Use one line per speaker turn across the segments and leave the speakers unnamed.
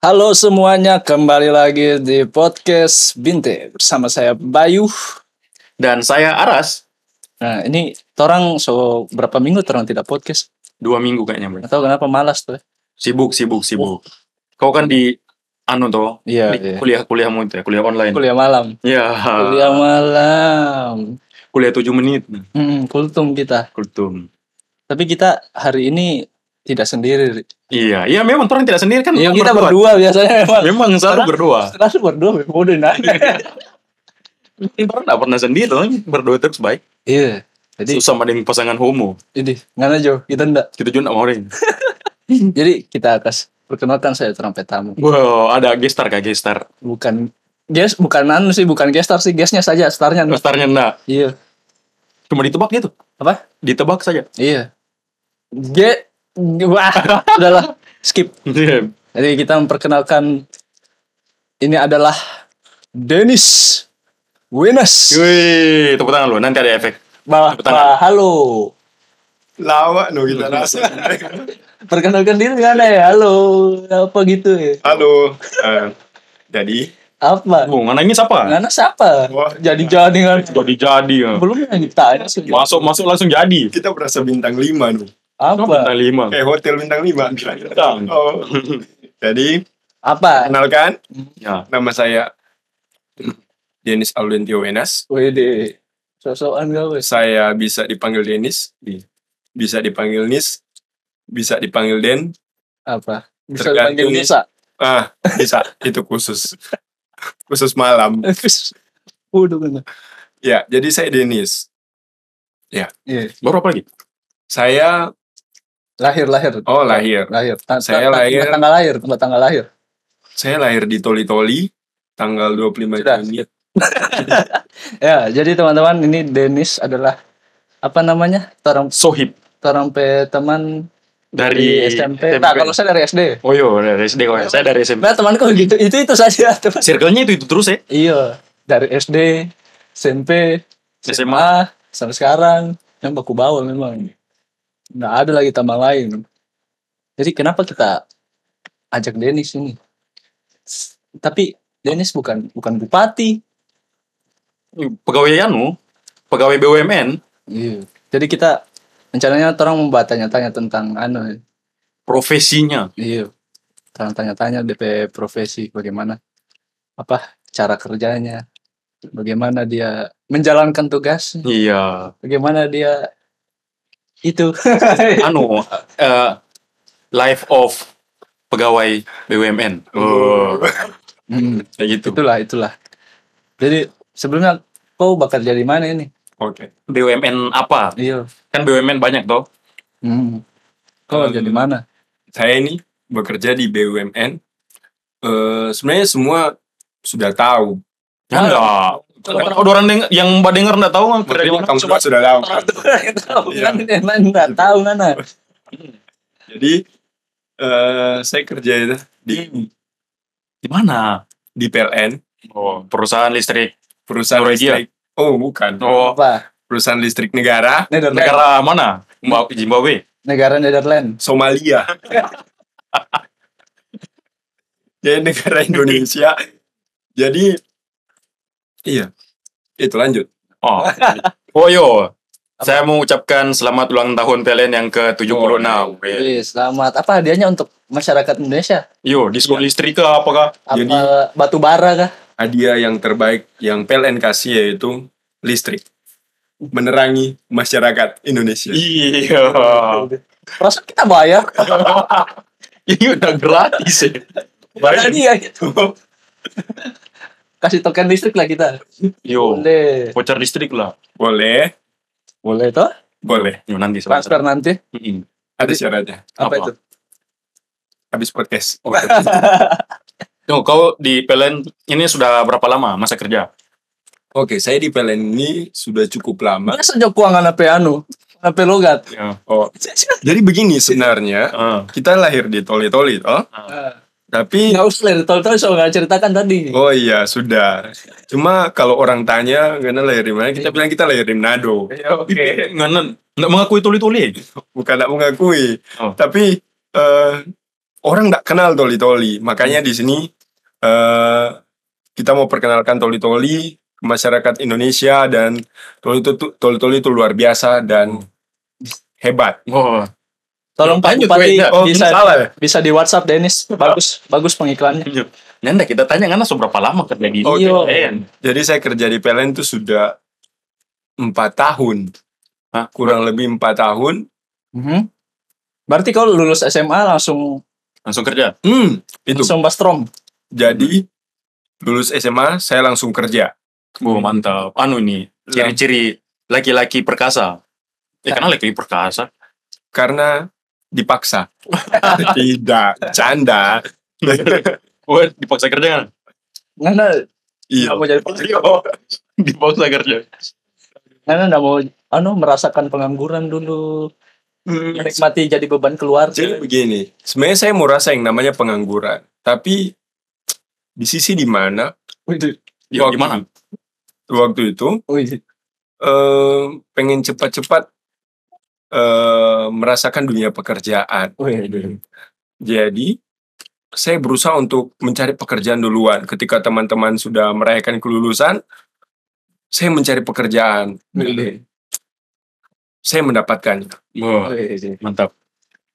Halo semuanya, kembali lagi di podcast Binte bersama saya Bayu.
Dan saya Aras,
Nah, ini torang so berapa minggu torang tidak podcast?
dua minggu kayaknya bro.
Atau kenapa malas tuh? ya?
Sibuk, sibuk, sibuk. Kau kan di anu toh,
Iya, iya.
di kuliah kuliahmu itu ya, kuliah online.
Kuliah malam.
Iya. Kuliah.
Kuliah malam.
kuliah 7 menit.
Hmm, kultum kita.
Kultum.
Tapi kita hari ini tidak sendiri. Ri.
Iya, iya memang orang tidak sendiri kan.
Yang Iya, kita
berdua.
berdua biasanya memang.
Memang selalu berdua.
Selalu berdua, bodoh nah.
Orang nggak pernah sendiri, orang berdua terus baik.
Iya. Jadi
Susah mending pasangan homo.
ini ngana Jo, kita ndak.
Kita juga nggak mau orang.
Jadi kita atas perkenalkan saya torang petamu.
Wow, ada gestar kak gestar.
Bukan guest, bukan anu sih, bukan guest star sih, guestnya saja, starnya. anu.
Gestarnya enggak.
Iya.
Cuma ditebak gitu.
Apa?
Ditebak saja.
Iya. G wah, udahlah skip.
Iya.
Jadi kita memperkenalkan ini adalah Dennis Wenas.
Wih, tepuk tangan lu. Nanti ada efek.
Bah,
tepuk
bah,
tangan.
halo.
lawak no kita rasa.
Perkenalkan diri gimana ya? Halo. Apa gitu ya?
Halo. eh, jadi
Apa?
Oh, ngananya siapa?
Ngana siapa?
Wah.
Jadi jadi kan.
Jadi-jadi ya.
Belum yang ditanya sih.
Masuk masuk langsung jadi.
kita berasa bintang 5 nu.
Apa?
Bintang lima.
Eh hotel bintang 5.
Bintang.
Oh. Jadi
Apa?
kenalkan
Ya.
nama saya Dennis Aulentio Wenas.
Wede. Sosokan gak wes?
Saya bisa dipanggil Dennis,
Iya.
bisa dipanggil Nis, bisa dipanggil Den.
Apa? Bisa
Tergantung
dipanggil
nih.
Nisa.
Ah, bisa. Itu khusus. Khusus malam.
Waduh bener.
Ya, jadi saya Dennis.
Iya.
Baru apa lagi?
Saya
Lahir lahir.
oh lahir.
lahir. Ta-
Saya
ta- ta-
lahir.
Tanggal lahir, tempat tanggal lahir.
Saya lahir di Toli Toli tanggal 25
Sudah.
Juni.
Ya, jadi teman-teman ini Dennis adalah apa namanya? Torang
Sohib
torang pe teman
dari
di SMP. Nah, kalau saya dari SD.
Oh iya, dari SD kok. ya. Saya dari SMP.
Nah, temanku gitu. Itu itu saja, teman.
Circle-nya itu itu terus ya.
Iya, dari SD, SMP, SMA, sampai sekarang yang baku bawa memang. Nggak ada lagi tambah lain. Jadi kenapa kita ajak Dennis ini? S- Tapi Dennis bukan bukan bupati.
Pegawai anu, pegawai BUMN,
Iya. Jadi kita rencananya orang mau tanya-tanya tentang anu.
profesinya.
Iya. Orang tanya-tanya DP profesi bagaimana apa cara kerjanya, bagaimana dia menjalankan tugasnya,
Iya.
bagaimana dia itu.
Anu eh, life of pegawai BUMN. Oh,
Hmm,
kayak gitu.
itulah itulah. Jadi sebelumnya kau bekerja di mana ini?
Oke.
BUMN apa?
Iya.
Kan BUMN banyak toh.
Hmm. Kau kerja di mana?
Saya ini bekerja di BUMN. Eh sebenarnya semua sudah tahu.
Ya enggak. Kalau orang denger, yang mbak denger enggak tahu kan kerja di
Makanya
mana?
kamu
Coba.
semua sudah tahu.
Tahu
Iya.
kan? Emang nggak tahu kan?
Jadi eh saya kerja di
Di mana?
di PLN
Oh, perusahaan listrik.
perusahaan
Norwegia.
listrik. Oh bukan.
Oh,
Apa?
Perusahaan listrik negara
Netherlands.
negara mana? Mbak Zimbabwe.
Negara Netherlands.
Somalia. Jadi negara Indonesia. Jadi iya itu lanjut.
Oh. oh yo. Saya mau ucapkan selamat ulang tahun PLN yang ke-76. Weh.
Wih, selamat. Apa hadiahnya untuk masyarakat Indonesia?
Yo, diskon listrik kah apakah?
Apa
Jadi-
batu bara kah?
hadiah yang terbaik yang PLN kasih yaitu listrik menerangi masyarakat Indonesia.
Iya.
Ah. Perasaan kita bayar.
Ini udah gratis ya.
Jadi
Baik.
ya, kasih token listrik lah kita.
Yo,
Boleh.
voucher listrik lah.
boleh,
Boleh toh?
boleh.
Yo, nanti setelah-
Transfer nanti.
Mm-mm.
Ada syaratnya.
Apa,
Apa?
itu?
Habis podcast.
Yo, kau di PLN ini sudah berapa lama masa kerja?
Oke, saya di PLN ini sudah cukup lama.
Biasa jauh keuangan apa anu? Apa logat?
Ya.
Oh, jadi begini sebenarnya
Eh,
kita lahir di Toli-Toli, toh.
Eh.
Tapi
Nggak usah dari tol-tol soal nggak ceritakan tadi.
oh iya sudah. Cuma kalau orang tanya karena lahir di mana, kita bilang kita lahir di Manado.
Ya, Oke. Nggak nggak mengakui tuli-tuli.
Bukan tak mengakui,
Oh.
tapi eh, orang nggak kenal toli-toli. Makanya di sini eh kita mau perkenalkan toli-toli ke masyarakat Indonesia dan toli itu toli-toli itu luar biasa dan hebat.
Oh,
Tolong Pak
Lanjut,
Bupati
wait,
Oh,
bisa
salah ya?
bisa di WhatsApp Dennis. Bagus bagus pengiklannya.
Nanda kita tanya Ngana seberapa lama kerja di
Oke.
PLN?
Jadi saya kerja di PLN itu sudah empat tahun,
Hah?
kurang lebih empat tahun.
Mhm. Berarti kau lulus SMA langsung
Langsung kerja.
Hmm, itu.
langsung bastrom.
Jadi lulus SMA saya langsung kerja.
Oh, mantap. Anu ini ciri-ciri laki-laki perkasa. Ya karena laki-laki perkasa.
karena dipaksa. Tidak, canda.
Wah, dipaksa kerja kan?
Ngana
Iya.
nggak mau jadi polisi.
Oh, dipaksa kerja.
Ngana nggak mau anu merasakan pengangguran dulu,
Hmm.
menikmati jadi beban keluarga.
Iya. Jadi begini, sebenarnya saya mau rasa yang namanya pengangguran, tapi di sisi di mana
Wih,
Ya, gimana?
waktu itu
wih.
eh, pengen cepat-cepat eh, merasakan dunia pekerjaan.
Wih.
Jadi saya berusaha untuk mencari pekerjaan duluan. Ketika teman-teman sudah merayakan kelulusan, saya mencari pekerjaan.
Wih.
Saya mendapatkannya.
Wah,
Wih.
Oh, mantap.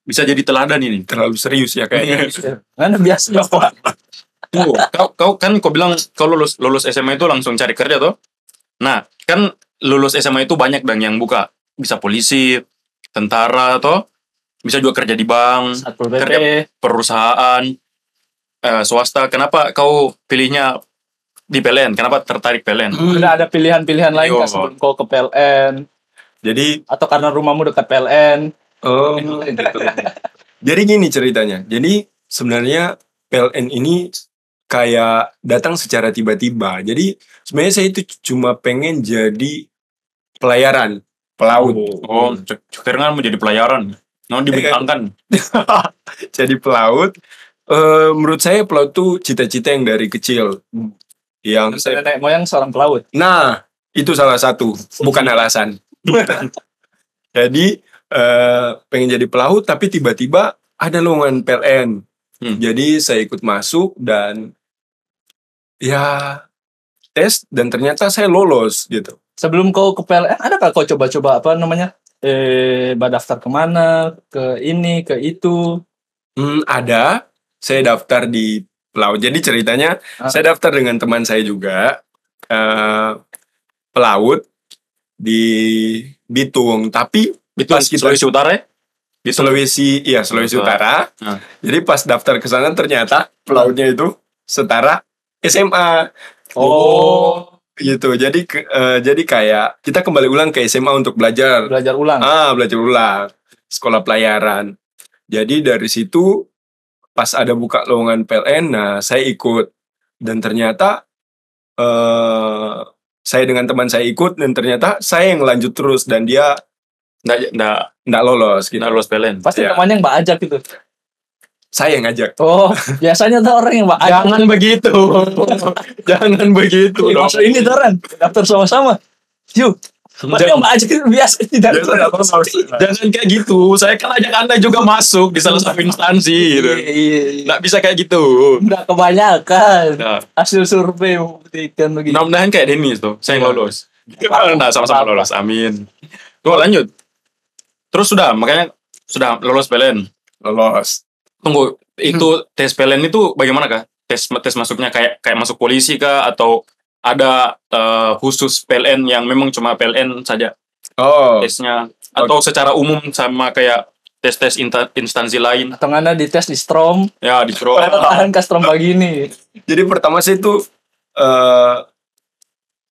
Bisa jadi teladan ini.
Terlalu serius ya kayaknya.
Ngana biasa Pak.
Tuh, kau kau kan kau bilang kau lulus lulus SMA itu langsung cari kerja tuh. Nah, kan lulus SMA itu banyak bang yang buka. Bisa polisi, tentara atau bisa juga kerja di bank,
Satpol PP.
perusahaan, eh, swasta. Kenapa kau pilihnya di PLN? Kenapa tertarik PLN?
Udah ada pilihan-pilihan lain
Iya,
Yo.
nggak sebelum kau ke PLN
Jadi
atau karena rumahmu dekat PLN?
Oh, gitu. Jadi gini ceritanya. Jadi sebenarnya PLN ini kayak datang secara tiba-tiba. Jadi sebenarnya saya itu cuma pengen jadi pelayaran, pelaut.
Oh, c- supir kan menjadi pelayaran. Nah, dibintangkan.
Jadi pelaut. Eh, menurut saya pelaut tuh cita-cita yang dari kecil. Yang saya
Nenek moyang seorang pelaut.
Nah, itu salah satu, bukan alasan. jadi eh, pengen jadi pelaut tapi tiba-tiba ada lowongan PLN.
Hmm.
Jadi saya ikut masuk dan ya tes dan ternyata saya lolos gitu.
Sebelum kau ke PLN, adakah kau coba-coba apa namanya? Eh, daftar kemana? Ke ini, ke itu.
Hmm, ada saya daftar di pelaut. Jadi ceritanya
Ah.
saya daftar dengan teman saya juga eh, pelaut di Bitung, tapi
Itu
Pas kita-
Sulawesi Utara ya?
di Sulawesi iya Sulawesi Utara.
Ah.
Jadi pas daftar ke sana ternyata pelautnya itu setara SMA
Oh.
gitu. Jadi ke- eh, jadi kayak kita kembali ulang ke SMA untuk belajar.
Belajar ulang.
Ah, belajar ulang. Sekolah pelayaran. Jadi dari situ pas ada buka lowongan PLN, nah saya ikut dan ternyata eh saya dengan teman saya ikut dan ternyata saya yang lanjut terus dan dia
Nggak, nggak,
nggak lolos gitu.
nggak lulus PLN.
Pasti
iya.
temannya yang Mbak Ajak gitu.
Saya yang ngajak.
Oh, biasanya tuh orang yang Mbak Ajak.
begitu.
Gitu.
Jangan begitu
Ih, Masuk
Iya,
ini tuh orang. Daftar sama-sama. Yuk. Pasti yang Mbak Ajak itu biasa tidak.
Biasa nggak lolos.
Jangan kayak gitu. Saya kan ajak Anda juga masuk di salah satu instansi gitu.
Iya, iya, iya.
Nggak bisa kayak gitu.
Nggak kebanyakan.
Nah,
Hasil survei membuktikan begitu.
mudah-mudahan kayak Dennis tuh. Saya yang lolos. Nah, sama-sama lolos. Amin. Tuh, lanjut. Terus sudah, makanya sudah lolos PLN.
Lolos.
Tunggu, itu tes PLN itu bagaimana kah? Tes tes masuknya kayak kayak masuk polisi kah atau ada eh, khusus PLN yang memang cuma PLN saja?
Oh,
tesnya atau secara umum sama kayak tes-tes inta- instansi lain
Atau nggak dites di Strom.
ya di Pro
Tahan ke Strom begini.
jadi pertama saya itu eh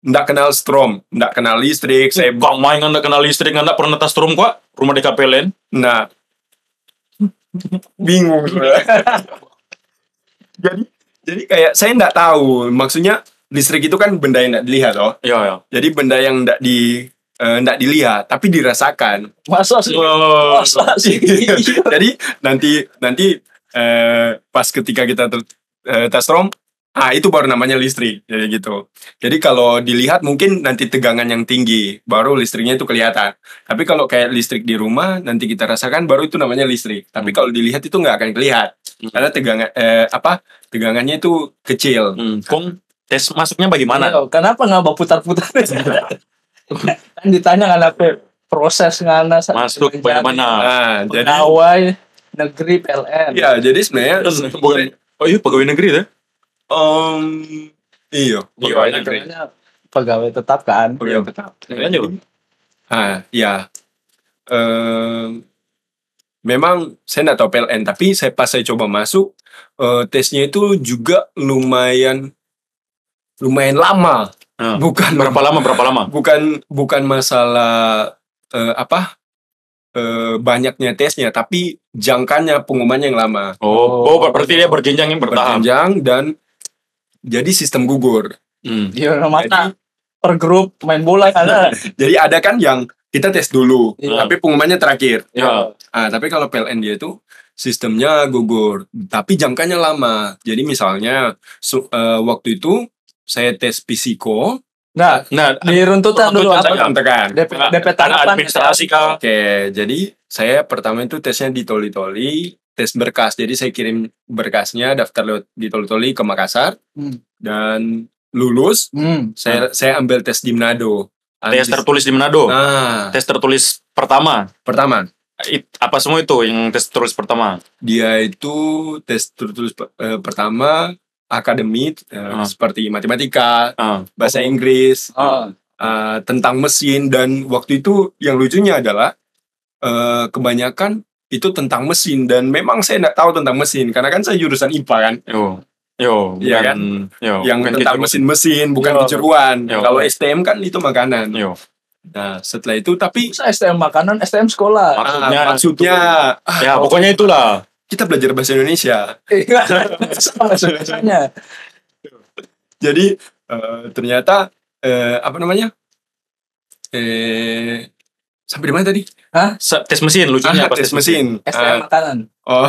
nggak kenal strom, nggak kenal listrik. Saya
saya bang main anda kenal listrik anda pernah tes turun kok rumah di KPLN
nah bingung. sebenarnya. jadi jadi kayak saya nggak tahu. Maksudnya listrik itu kan benda yang nggak dilihat, oh.
ya ya
Jadi benda yang nggak di eh, nggak dilihat, tapi dirasakan.
Masa sih? Masa sih?
Iya.
Iya.
jadi nanti nanti eh, pas ketika kita ter, eh, tes strom, ah itu baru namanya listrik jadi gitu jadi kalau dilihat mungkin nanti tegangan yang tinggi baru listriknya itu kelihatan tapi kalau kayak listrik di rumah nanti kita rasakan baru itu namanya listrik tapi kalau dilihat itu nggak akan kelihatan
Hmm.
Karena tegangan eh, apa tegangannya itu kecil.
Hmm, Kong, tes masuknya bagaimana?
Iya, kenapa nggak mau putar-putar kan ditanya kenapa proses ngana sa- menjadi
Masuk bagaimana?
Nah, jadi
pegawai negeri PLN
Iya,
ya jadi sebenarnya
Terus, bukan Oh iya pegawai negeri itu?
em iya
Pegawai negeri. Iya,
Pegawainya pegawai tetap kan
Pegawai
tetap.
Hmm. Ah, ya. Em, memang saya nggak tahu PLN, tapi saya pas saya coba masuk eh, tesnya itu juga lumayan lumayan lama.
Ah,
bukan
Berapa lama? Berapa lama?
Bukan bukan masalah eh, apa eh, banyaknya tesnya, tapi jangkanya pengumumannya yang lama,
Oh, oh, berarti dia berjenjang yang bertahap.
berjenjang dan jadi sistem gugur.
Hmm.
di mana mana per grup main bola ada
Jadi ada kan yang kita tes dulu,
Iya.
tapi pengumumannya terakhir.
Ya.
Ah, tapi kalau PLN dia itu sistemnya gugur, tapi jangkanya lama. Jadi misalnya su- eh, waktu itu saya tes pisiko,
nah
Nah,
di runtutan dulu
Runtutan
apa
saya.
tekan.
DP DP
ada
tanggapan
administrasi kah?
Oke, jadi saya pertama itu tesnya di Toli-Toli, tes berkas. Jadi saya kirim berkasnya daftar lewat di Toli-Toli ke Makassar
Hmm.
dan lulus.
hmm.
Saya saya ambil tes di Manado.
Tes
Antis-
tertulis di Manado.
Nah,
Tes tertulis pertama.
pertama
It- apa semua itu yang tes tertulis pertama?
dia itu tes tertulis eh, pertama akademik eh,
Ah.
seperti matematika,
Ah.
bahasa Inggris,
Hmm.
Ah,
eh, tentang mesin dan waktu itu yang lucunya adalah eh, kebanyakan itu tentang mesin dan memang saya nggak tahu tentang mesin karena kan saya jurusan IPA kan
Yo. Yo,
Iya
bukan-
kan?
Yo,
yang
bukan
tentang
gitu.
mesin-mesin bukan
Yo.
kejuruan
Yo.
kalau STM kan itu makanan
Yo.
nah setelah itu tapi
bisa STM makanan STM sekolah
Maksudnya-
ah, maksudnya ah,
Ya, pokoknya itulah.
kita belajar bahasa Indonesia
Makanya.
jadi eh, ternyata eh, apa namanya eh sampai di mana tadi
Se- Tes mesin lucunya
Ah,
apa
tes mesin
Eh.
STM
Ah,
makanan
oh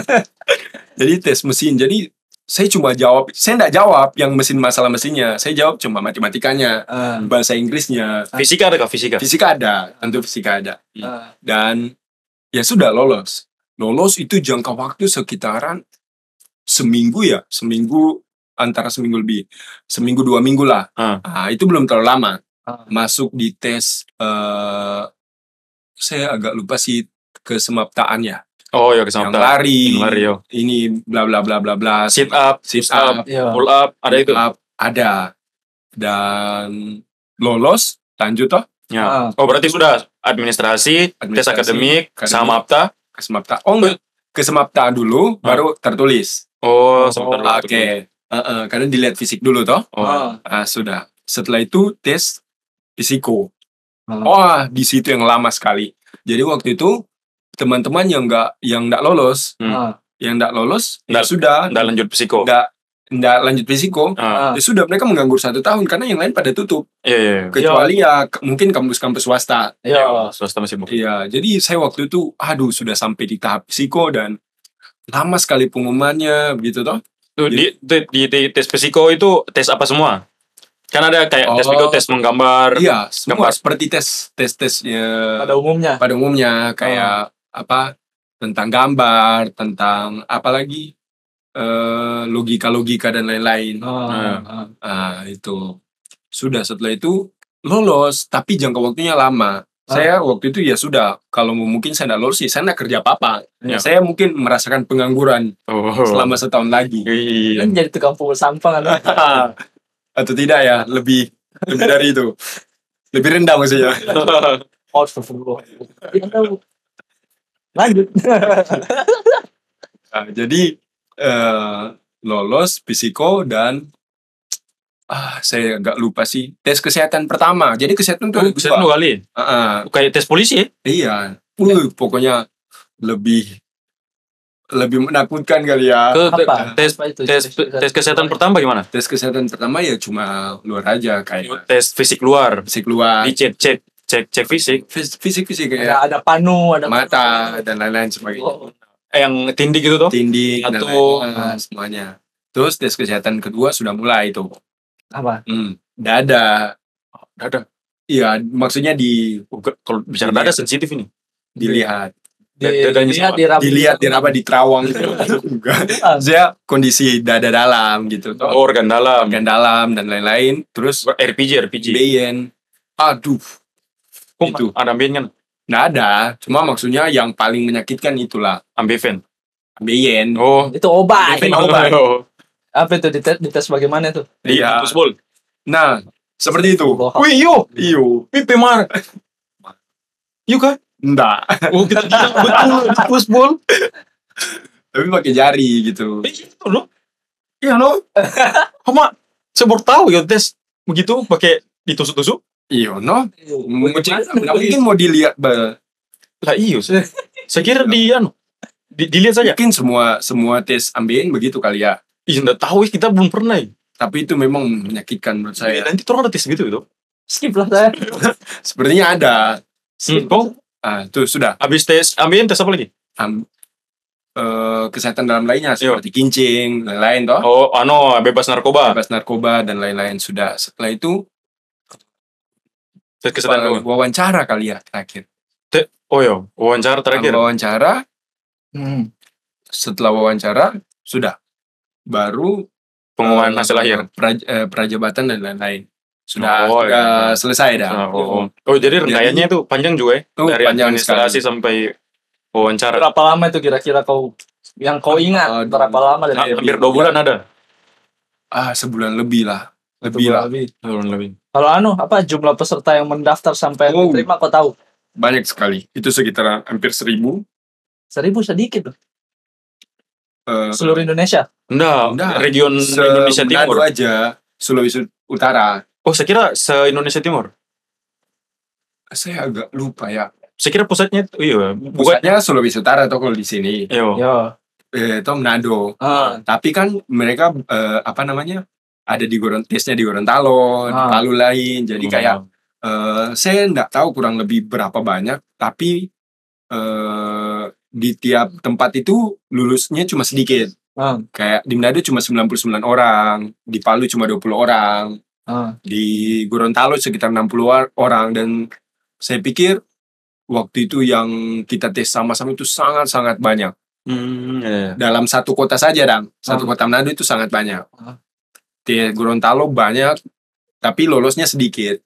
jadi tes mesin jadi saya cuma jawab saya tidak jawab yang mesin masalah mesinnya saya jawab cuma matematikanya
Ah,
bahasa Inggrisnya
Fisika ada kah fisika?
fisika ada tentu fisika ada
ah.
dan ya sudah lolos lolos itu jangka waktu sekitaran seminggu ya seminggu antara seminggu lebih seminggu dua minggu lah
Ah.
Ah, itu belum terlalu lama
Ah.
masuk di tes eh saya agak lupa sih kesemaptaan ya
Oh, ya
yang
kesamaptaan.
lari
Yang lari, yo.
ini bla bla bla bla bla
Sit up,
sit
up,
up,
Iya.
pull up, ada itu.
up, ada dan lolos lanjut toh
Ah.
Ya. Oh, berarti sudah administrasi, tes
Administrasi,
akademik,
akademik.
sama apta.
kesemapta oh enggak kesemapta dulu
Ah.
baru tertulis
Oh,
Oh,
sebentar
oke. Heeh, karena dilihat fisik dulu toh.
Oh.
Ah.
Ah, sudah. Setelah itu tes fisiko.
Hmm.
Wah, di situ yang lama sekali. Jadi waktu itu teman-teman yang nggak yang nggak lolos,
Hmm.
Ah.
yang nggak lolos, ya
Nggak-
sudah,
Nggak lanjut fisiko.
nggak nggak lanjut fisiko.
Ah,
Ah.
Ya sudah mereka menganggur satu tahun karena yang lain pada tutup
iya, iya. iya.
kecuali ya ke- mungkin kampus-kampus swasta.
Iya.
Swasta masih buka.
Iya, jadi saya waktu itu aduh sudah sampai di tahap fisiko dan lama sekali pengumumannya begitu toh.
Tuh, di, di, di- di tes fisiko itu tes apa semua? Kan ada kayak tes
Oh.
fisiko, tes menggambar.
Iya, semua
Gambar.
seperti tes tes tesnya
pada umumnya
pada umumnya kayak apa tentang gambar tentang apalagi eh logika logika dan lain-lain
Ah, ah.
ah itu sudah setelah itu lolos tapi jangka waktunya lama saya waktu itu ya sudah kalau mau mungkin saya tidak lolos sih saya tidak kerja apa-apa
Ya.
saya mungkin merasakan pengangguran
Oh.
selama setahun lagi
Iya.
kan jadi tukang pukul sampah kan
atau tidak ya lebih lebih dari itu lebih rendah maksudnya
out for football Iya, lanjut
Nah, jadi eh, lolos fisiko dan ah saya agak lupa sih tes kesehatan pertama. Jadi kesehatan itu
Oh,
ada
bisa
dua.
dua kali.
Ah,
Kayak tes polisi ya?
iya. Wuh, pokoknya lebih lebih menakutkan kali ya.
Ke,
apa
tes
Apa itu
tes tes kesehatan pertama gimana?
Tes kesehatan pertama ya cuma luar aja kayak
Tes fisik luar.
fisik luar,
Dicek cek cek cek fisik.
fisik fisik
ada
Iya,
kayak
ada panu ada
ya. mata gitu? dan lain-lain sebagainya.
Oh,
Eh, yang tindih gitu tuh.
Tindih dan
Satu.
lain-lain ah, semuanya. Terus tes kesehatan kedua sudah mulai itu.
apa
Hmm, dada.
Dada.
Iya, maksudnya di
Iya. Kalau bicara dada sensitif ini.
dilihat
di,
dadanya
dilihat
sama.
di rambut.
dilihat di apa di terawang gitu enggak saya kondisi dada dalam gitu toh
organ dalam
organ dalam dan lain-lain terus
RPG RPG
beyen aduh
Kok
itu.
ada ambeien kan
nggak ada cuma maksudnya yang paling menyakitkan itulah
ambeven
beyen
oh
Itu obat.
Itu obat.
Apa itu dites, dites bagaimana tuh?
iya
Iya.
terus bol
nah seperti itu
Bohong.
wih yo
iyo
pipe mar yuk kan
enggak
oh kita tidak betul terus bol
tapi pakai jari gitu
Eh, itu loh iya loh Hama sebor tahu ya tes begitu pakai ditusuk-tusuk
iyo no nggak mungkin mau dilihat bal
lah iyo saya saya kira di anu di- dilihat saja
Mungkin semua semua tes ambeien begitu kali ya.
Ih, nggak tahu ih, kita belum pernah ya.
Tapi itu memang menyakitkan menurut
Eh,
saya.
nanti orang ada tes gitu itu
Skip lah saya.
Sepertinya ada.
hmm, kok
Ah, itu sudah.
abis tes ambilin tes apa lagi
Am- eh, kesehatan dalam lainnya
Iya.
seperti kincing, lain-lain toh.
oh ano bebas narkoba
Bebas narkoba dan lain-lain sudah. Setelah itu
tes kesehatan
wa- wawancara kali ya terakhir.
oh ya wawancara terakhir
Wawancara,
Hmm.
setelah wawancara sudah. Baru
pengumuman
eh,
hasil akhir
praj- eh, prajabatan dan lain-lain. Sudah,
Oh,
sudah
iya.
selesai dah.
Ah, oh, oh. Oh, jadi rangkaiannya itu panjang juga ya
Tuh,
dari
Oh, panjang
administrasi sampai wawancara
Berapa lama itu kira-kira kau yang kau ingat
Aduh.
berapa lama
Ah,
dari
hampir dua bulan ada
Ah, sebulan lebih lah.
Satu
Lebih
bulan
lah.
lebih.
Dua bulan lebih
Kalau anu apa jumlah peserta yang mendaftar sampai
Oh.
yang diterima kau tahu?
banyak sekali itu sekitar hampir seribu
Seribu sedikit loh.
Eh,
Seluruh Indonesia.
Enggak,
Enggak.
region
se-
Indonesia
Manado
Timur.
aja Sulawesi Utara
Oh, saya kira se-Indonesia Timur.
saya agak lupa ya
Saya kira pusatnya itu, iya, bukan.
pusatnya Sulawesi Utara atau kalau di sini
Iya.
Yo.
eh, itu Manado
Ah.
tapi kan mereka eh, apa namanya ada di Goron tesnya di Gorontalo di
Ah.
Palu lain
Hmm.
jadi kayak eh, saya nggak tahu kurang lebih berapa banyak tapi eh, di tiap tempat itu lulusnya cuma sedikit
Ah.
kayak di Manado cuma 99 orang di Palu cuma 20 orang
Ah.
di Gorontalo sekitar 60 war- orang dan saya pikir waktu itu yang kita tes sama-sama itu sangat-sangat banyak
Hmm, iya, iya.
dalam satu kota saja dang satu
Ah.
kota Manado itu sangat banyak
Ah.
di Gorontalo banyak tapi lolosnya sedikit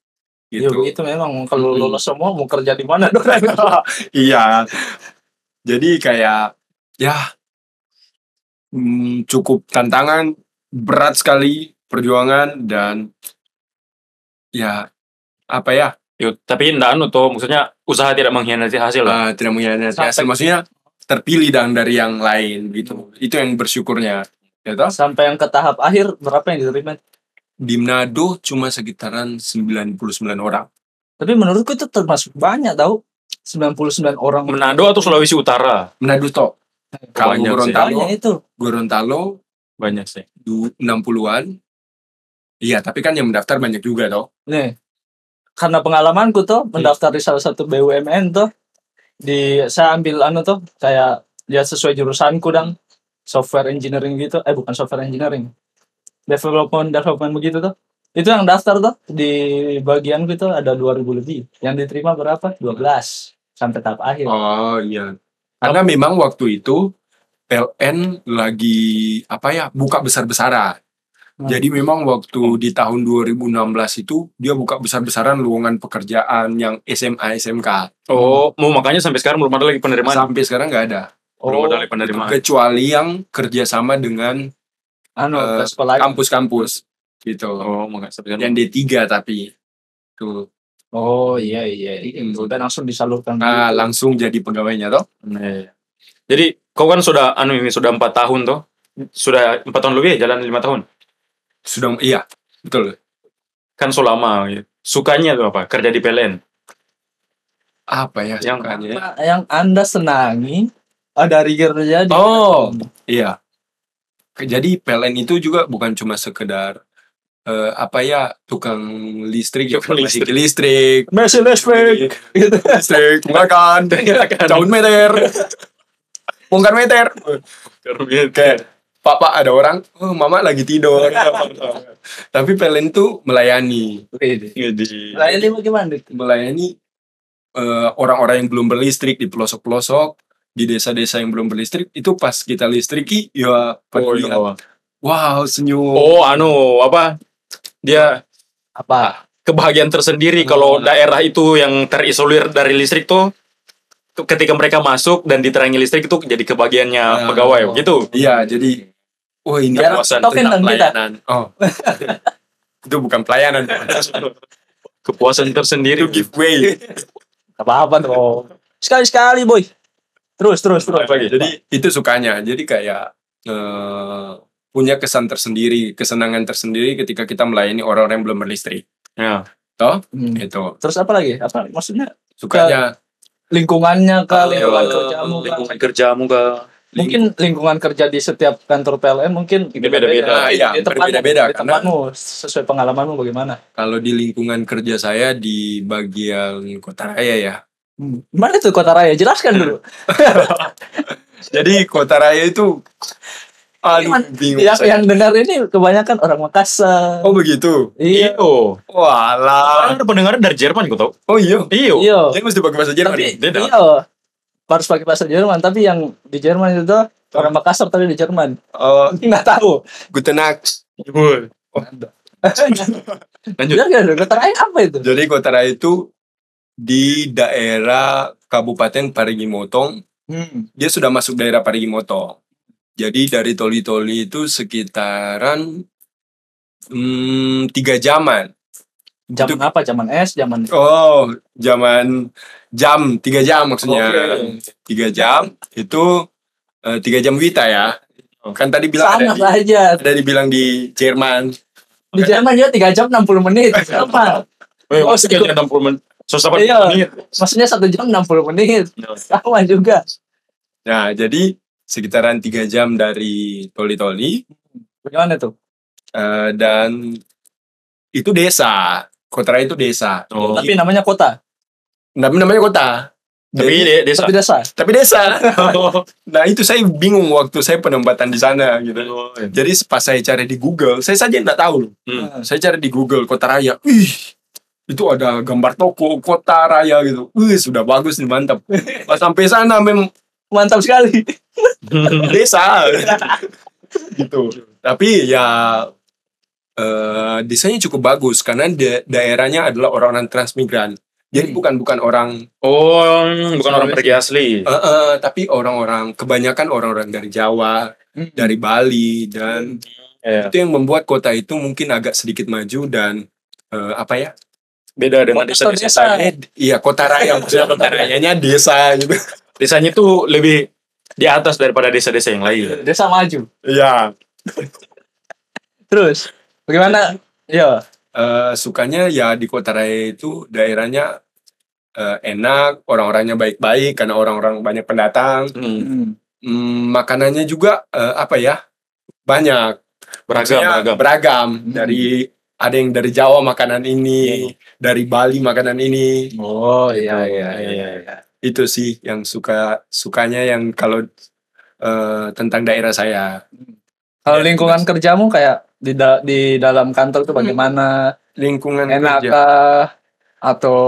Yo,
gitu
itu memang kalau
Hmm.
lolos semua mau kerja di mana dong?
iya jadi kayak ya mm, cukup tantangan berat sekali perjuangan dan ya apa ya
Yo, tapi enggak anu toh, maksudnya usaha tidak mengkhianati hasil lah.
Ah, tidak mengkhianati
Sampai-
hasil. Maksudnya terpilih dan dari yang lain gitu. Itu yang bersyukurnya. Ya toh?
sampai yang ke tahap akhir berapa yang diterima?
Di Manado cuma sekitaran 99 orang.
Tapi menurutku itu termasuk banyak tahu. 99 orang
Manado atau Sulawesi Utara?
Menado toh. Kalau
Banyak sih.
Gorontalo,
Banyak itu.
Gorontalo
Banyak sih.
du- 60-an. Iya, tapi kan yang mendaftar banyak juga toh.
Nih. Karena pengalamanku tuh
Iya.
mendaftar di salah satu BUMN tuh di saya ambil anu tuh kayak ya sesuai jurusanku dang software engineering gitu eh bukan software engineering development development begitu tuh itu yang daftar tuh di bagian itu ada 2000 lebih yang diterima berapa 12 sampai tahap akhir
Oh iya. Karena memang waktu itu PLN lagi apa ya buka besar-besaran.
Hmm.
Jadi memang waktu di tahun 2016 itu dia buka besar-besaran lowongan pekerjaan yang SMA SMK.
Oh, mau makanya sampai sekarang belum ada lagi penerimaan.
Sampai sekarang nggak ada.
belum ada
oh
lagi penerimaan.
Kecuali yang kerjasama dengan
anu
eh,
ke sekolah
kampus-kampus gitu.
Oh, makanya sampai sekarang.
Yang D3 tapi tuh.
Oh iya iya,
Mm.
itu dan langsung disalurkan.
Nah,
gitu.
langsung jadi pegawainya toh.
Iya. Jadi kau kan sudah anu ini sudah empat tahun toh? Sudah empat tahun lebih ya, jalan lima tahun.
Sudah iya, betul.
Kan so lama. gitu. Sukanya tuh apa? Kerja di PLN.
Apa ya?
Yang-
sukanya?
Apa yang anda senangi ah, dari kerja di
Oh, iya. Ke- Jadi PLN itu juga bukan cuma sekedar eh, apa ya tukang listrik,
Tukang listrik.
informasi ke listrik,
mesin listrik. Gitu.
listrik, makan,
Tahun
tahun meter, bongkar meter. Kayak papa ada orang, oh, mama lagi tidur. Tapi PLN itu melayani,
Iya.
Lain lima gimana? Dik?
melayani eh, orang-orang yang belum berlistrik di pelosok-pelosok di desa-desa yang belum berlistrik itu pas kita listriki ya pada
Oh,
lihat,
iya.
wow senyum
oh anu apa dia
Apa?
kebahagiaan tersendiri
Oh,
kalau
nah.
daerah itu yang terisolir dari listrik tuh ke- ketika mereka masuk dan diterangi listrik itu jadi kebahagiaannya
Ah,
oh.
pegawai gitu
iya jadi wah ini
Biar
Kepuasan
token
tentang
dong kan kita.
pelayanan
oh itu bukan pelayanan
kepuasan tersendiri
itu giveaway
Gak apa-apa tuh. Sekali-sekali boy. Terus, terus, terus.
Lagi.
jadi itu sukanya jadi kayak eh, punya kesan tersendiri kesenangan tersendiri ketika kita melayani orang-orang yang belum berlistrik
ya
Hmm.
itu
Terus apa lagi? Apa maksudnya?
sukanya
Lingkungannya
Eh,
kali, lingkungan
eh,
kerjamu kah?
lingkungan kerjamu kah?
Mungkin lingkungan kerja di setiap kantor PLN mungkin
Beda-beda.
Di-
Iya,
di tempatmu,
berbeda-beda,
di tempatmu sesuai pengalamanmu bagaimana?
kalau di lingkungan kerja saya di bagian kota raya ya
Hmm. Gimana tuh Kota Raya? Jelaskan dulu.
jadi kota raya itu aduh
Cuman, ya,
bingung
yang,
saya.
yang dengar ini kebanyakan orang Makassar.
Iya. oh begitu
iya.
Iyo.
walah
Ada pendengar dari Jerman kok tau?
oh iya
Iyo.
Iya.
jadi mesti pakai bahasa Jerman
Tapi
Beda.
iya. Harus pakai bahasa Jerman, tapi yang di Jerman itu tuh orang Makassar tapi di Jerman.
Eh,
Nggak tahu.
guten Tag.
Lanjut.
Biar nggak ada Kota Raya apa itu?
jadi kota raya itu di daerah Kabupaten Parigi Motong
Hmm.
dia sudah masuk daerah Parigi Motong. Jadi dari Toli-Toli itu sekitaran hmm, tiga jaman.
Zaman
Itu-
apa? Zaman es, zaman
Oh, jaman jam tiga jam
Iya.
maksudnya tiga jam itu eh, tiga jam wita ya. Kan tadi bilang ada
sama
di,
saja.
ada dibilang di Jerman.
Di Jerman juga 3 jam 60 menit. Sama.
Weh,
Oh,
masih
situ.
kayaknya 60 menit. 180
Iya.
menit.
Maksudnya 1 jam 60 menit. Sama juga.
Nah, jadi sekitaran tiga jam dari Toli-Toli
Bagaimana tuh?
eh, dan itu desa. Kota Raya itu desa.
Oh.
Tapi namanya kota,
Nam- Namanya kota.
Tapi
Jadi-
dia desa.
tapi desa.
tapi desa. Nah itu saya bingung waktu saya penempatan di sana gitu. Jadi pas saya cari di Google, saya saja nggak tahu. loh.
Hmm.
Saya cari di Google kota raya. Wih, itu ada gambar toko kota raya gitu. Wih sudah bagus nih mantap. Pas sampai sana memang
Mantap sekali.
desa gitu. Tapi ya eh desainnya cukup bagus karena da- daerahnya adalah orang-orang transmigran. Jadi
Hmm.
bukan bukan orang,
Oh, bukan orang pergi asli.
eh, eh, tapi orang-orang kebanyakan orang-orang dari Jawa, dari Bali dan
Iya.
itu yang membuat kota itu mungkin agak sedikit maju dan eh, apa ya
Beda dengan
Kota desa.
desa-desa.
eh d- iya kota raya maksudnya kota rayanya desa gitu
Desanya tuh lebih di atas daripada desa-desa yang lain.
Desa maju. Iya.
ya
Terus bagaimana? Ya,
sukanya ya di kota raya itu daerahnya eh, enak orang-orangnya baik-baik karena orang-orang banyak pendatang
Hmm,
Hmm, makanannya juga eh, apa ya banyak
Beragam,
Maksudnya
beragam.
beragam.
Hmm.
dari ada yang dari Jawa makanan ini dari Bali makanan ini
Oh iya iya
iya,
iya.
itu sih yang suka sukanya yang kalau eh, tentang daerah saya
Kalau lingkungan kerjamu kayak di da- di dalam kantor tuh bagaimana?
lingkungan
Enak
Kan kerja
kah? atau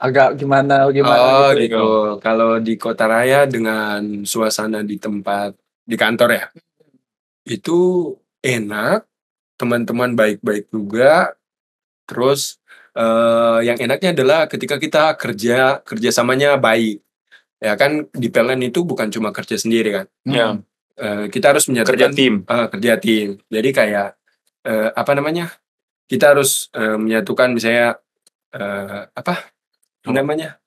agak gimana
oh
gimana? gitu?
gitu kalau di kota raya dengan suasana di tempat di kantor ya itu enak teman-teman baik-baik juga terus eh, yang enaknya adalah ketika kita kerja kerjasamanya baik ya kan di PLN itu bukan cuma kerja sendiri kan
Iya.
Hmm.
Eh, kita harus
Kerja
menyatukan
tim.
Eh, kerja tim. Jadi kayak eh, apa namanya? Kita harus eh, menyatukan misalnya eh, apa namanya?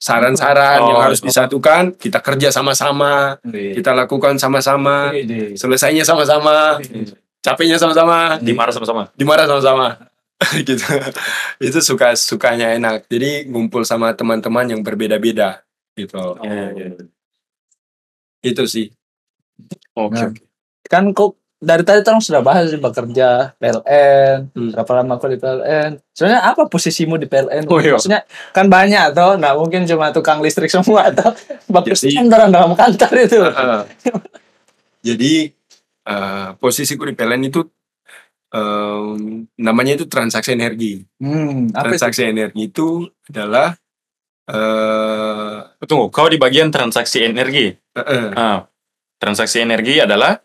Saran-saran yang
Oh,
harus
apa?
disatukan, kita kerja sama-sama, kita Iya, lakukan
Iya,
sama-sama, selesainya sama-sama, capeknya sama-sama,
Hmm.
Dimarah sama-sama.
dimarah sama-sama. gitu. Itu suka sukanya enak. Jadi ngumpul sama teman-teman yang berbeda-beda gitu.
Iya, iya, iya.
Itu sih.
Oke.
Nah. Kan kok dari tadi terus sudah bahas sih bekerja PLN,
Hmm.
berapa lama kau di PLN? Sebenarnya apa posisimu di PLN?
Oh, iya.
Maksudnya kan banyak toh, nggak mungkin cuma tukang listrik semua atau
Jadi-
bekerja orang dalam kantor itu.
Heeh. Jadi eh, posisiku di PLN itu em, namanya itu transaksi energi.
Hmm, apa itu?
transaksi energi itu adalah eh
tunggu kau di bagian transaksi energi
Heeh.
Ah, transaksi energi adalah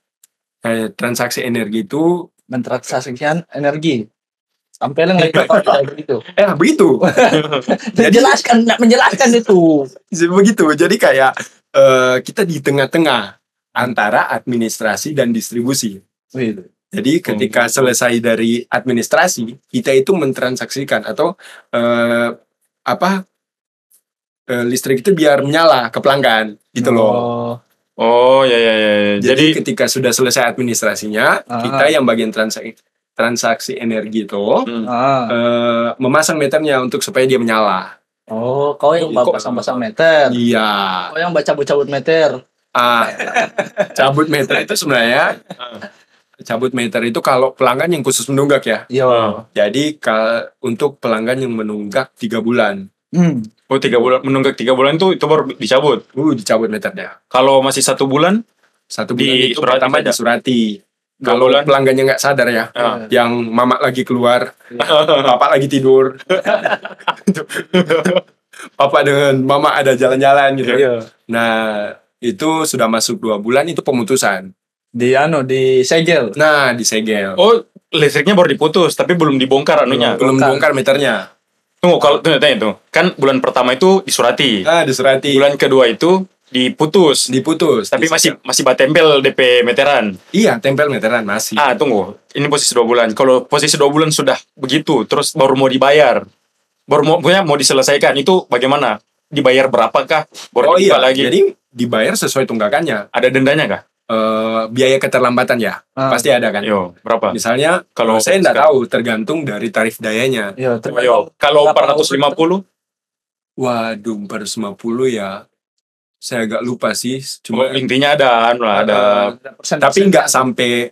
Kayak eh, transaksi energi itu
mentransaksikan energi sampai lagi apa kayak gitu
eh begitu Jadi-
menjelaskan nggak menjelaskan itu
begitu jadi kayak eh, kita di tengah-tengah antara administrasi dan distribusi
Gitu.
Jadi ketika selesai dari administrasi, kita itu mentransaksikan atau eh, apa eh, listrik itu biar menyala ke pelanggan gitu loh.
Oh,
oh ya ya ya ya.
Jadi,
jadi
ketika sudah selesai administrasinya,
Ah.
kita yang bagian transaksi transaksi energi itu
hmm,
ah.
eh, memasang meternya untuk supaya dia menyala.
oh kau yang
Kok-
pasang-pasang meter
Iya.
kau yang baca cabut meter
Ah, cabut meter itu sebenarnya
Ah.
cabut meter itu kalau pelanggan yang khusus menunggak ya.
yo
Jadi ka- untuk pelanggan yang menunggak tiga bulan,
hmm.
oh tiga bulan menunggak tiga bulan itu itu baru dicabut
uh dicabut meternya.
kalau masih satu bulan
Satu
Di
bulan itu
surati
pertama
saja.
disurati.
Dua
Kalau
bulan.
pelanggannya nggak sadar ya,
Ah.
yang mama lagi keluar, papa lagi tidur, papa dengan mama ada jalan-jalan
Ya.
gitu.
Iya.
Nah itu sudah masuk dua bulan itu pemutusan.
di anu di segel
Nah disegel.
oh ya. listriknya baru diputus tapi belum dibongkar anunya
Belum
bukan.
bongkar meternya.
tunggu kalau tanya tanya itu kan bulan pertama itu disurati
Nah disurati.
bulan kedua itu diputus
diputus.
tapi
Disegel.
masih masih batempel DP meteran
iya tempel meteran masih.
ah tunggu ini posisi dua bulan kalau posisi dua bulan sudah begitu terus baru mau dibayar baru mau punya mau diselesaikan itu bagaimana dibayar berapakah baru
oh
dibuka
iya
lagi
Jadi dibayar sesuai tunggakannya.
ada dendanya kah
Eh, biaya keterlambatan ya
Ah.
pasti ada kan.
yo berapa
Misalnya
Kalau
kalau saya nggak
sekarang-
tahu tergantung dari tarif dayanya.
yo
iya.
yo kalau 450
Waduh 450 ya. Saya agak lupa sih. Cuma
oh, intinya ada anu lah ada
tapi nggak sampai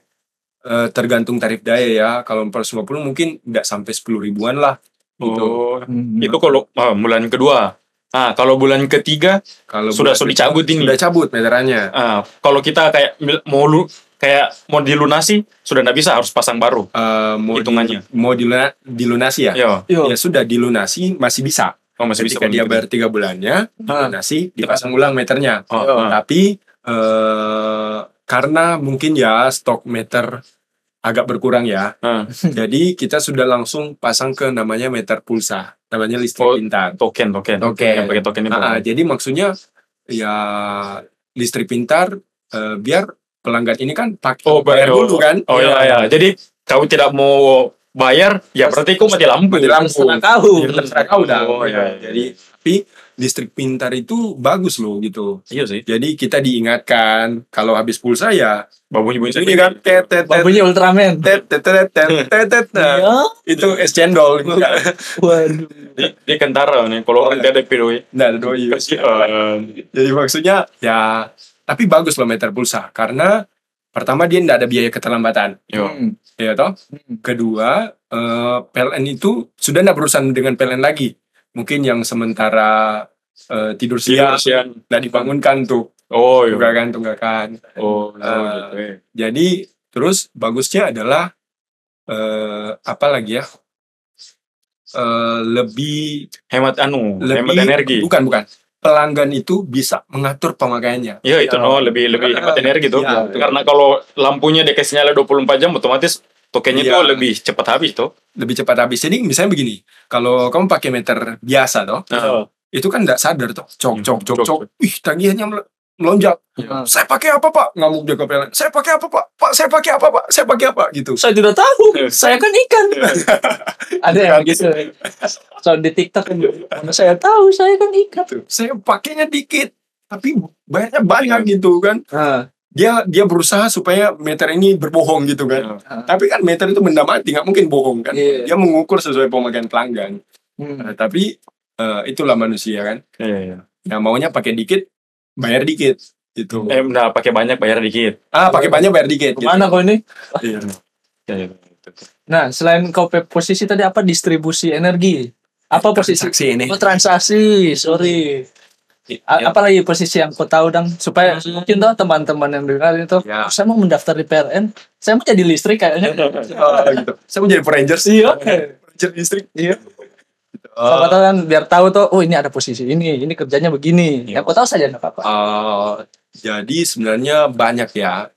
eh, tergantung tarif daya ya. Kalau 450 mungkin nggak sampai 10 ribuan lah. Gitu.
oh,
Hmm.
itu kalau ah, bulan kedua ah kalau bulan ketiga
Kalau
sudah
bulan-
sudah dicabut ini
sudah cabut meterannya.
Ah, kalau kita kayak mil- mau lu kayak mau dilunasi sudah nggak bisa harus pasang baru
Eh, mau di-
Hitungannya.
mau diluna- dilunasi ya.
yo
yo
Ya sudah dilunasi masih bisa.
oh, masih bisa bulan
Ketika dia
ketiga.
bayar tiga bulannya,
Ah.
dilunasi dipasang ulang meternya.
Oh,
Yo.
ah.
tapi eh karena mungkin ya stok meter agak berkurang ya
Ah.
jadi kita sudah langsung pasang ke namanya meter pulsa namanya listrik
Oh,
pintar
token token
Token.
yang pakai token itu
Nah, jadi maksudnya ya listrik pintar eh, biar pelanggan ini kan pakai
Oh,
bayar
bayar.
dulu kan
oh ya ya jadi kau tidak mau bayar ya berarti kau mati lampu Iya
Mati Iya, lampu.
terserah kau
Ya, terserah kau dah.
Oh, iya, iya.
Jadi tapi listrik pintar itu bagus loh gitu.
iya sih
Jadi kita diingatkan kalau habis pulsa ya
babunya bunyi
ini kan tet tet tet
Babunya Ultraman.
tet tet tet tet tet tet Nah,
Iya.
itu es cendol
Waduh.
dia, dia kentara nih kalau
Oh,
orang dia ada pilih
nah doi
kasihan
jadi maksudnya ya tapi bagus loh meter pulsa karena pertama dia tidak ada biaya keterlambatan
yo
Hmm.
ya toh
Hmm.
kedua eh, PLN itu sudah tidak berurusan dengan PLN lagi mungkin yang sementara eh, tidur siang
kasihan
tidak dibangunkan tuh kan,
oh yo
tunggakan tunggakan
oh
Ah.
gitu, eh.
jadi terus bagusnya adalah eh, apa lagi ya Eh, lebih
hemat anu
lebih
hemat energi
bukan bukan pelanggan itu bisa mengatur pemakaiannya
Iya itu
Iya.
no lebih lebih
Karena-
hemat energi tuh.
Iya, betul.
Karena kalau lampunya dia kasih nyala 24 jam otomatis tokennya
Iya.
tuh lebih cepat habis tuh.
lebih cepat habis jadi misalnya begini kalau kamu pakai meter biasa toh
Nah,
itu kan nggak sadar toh cok
Iya,
cok cok
cok,
cok ih tagihannya mel- melonjak
Iya.
saya pakai apa pak ngamuk dia ke PLN saya pakai apa pak pak saya pakai apa pak saya pakai apa gitu
Saya tidak tahu. Saya kan ikan. Ada yang gitu. Soal di TikTok kan. Mana saya tahu saya kan ikan.
Tuh, saya pakainya dikit tapi bayarnya banyak gitu kan
Ah.
dia dia berusaha supaya meter ini berbohong gitu kan
Iya.
Ah.
tapi kan meter itu benda mati nggak mungkin bohong kan
Iya.
dia mengukur sesuai pemakaian pelanggan
Hmm.
Nah, tapi eh, itulah manusia kan.
Iya, iya.
Nah, maunya pakai dikit, bayar dikit gitu.
Eh nah, pakai banyak bayar dikit.
ah, pakai banyak bayar dikit. gitu.
Kemana kau ini?
Iya.
Iya, iya, gitu.
Nah, selain kau pe- posisi tadi apa distribusi energi? Apa posisi?
Transaksi ini.
Oh, transaksi, sorry. A-
Iya.
Apalagi posisi yang kau tahu dong supaya mungkin tuh teman-teman yang dengar itu "Oh,
Ya.
saya mau mendaftar di PLN, saya mau jadi listrik kayaknya.
Oh, Ah, gitu. Saya mau jadi Power Gitu. Rangers.
Iya.
Ranger listrik.
Iya.
Eh,
Siapa tahu kan biar tahu tuh, oh ini ada posisi ini, ini kerjanya begini. Ya,
Iya.
kau tahu saja nggak apa-apa.
Eh, jadi sebenarnya banyak ya.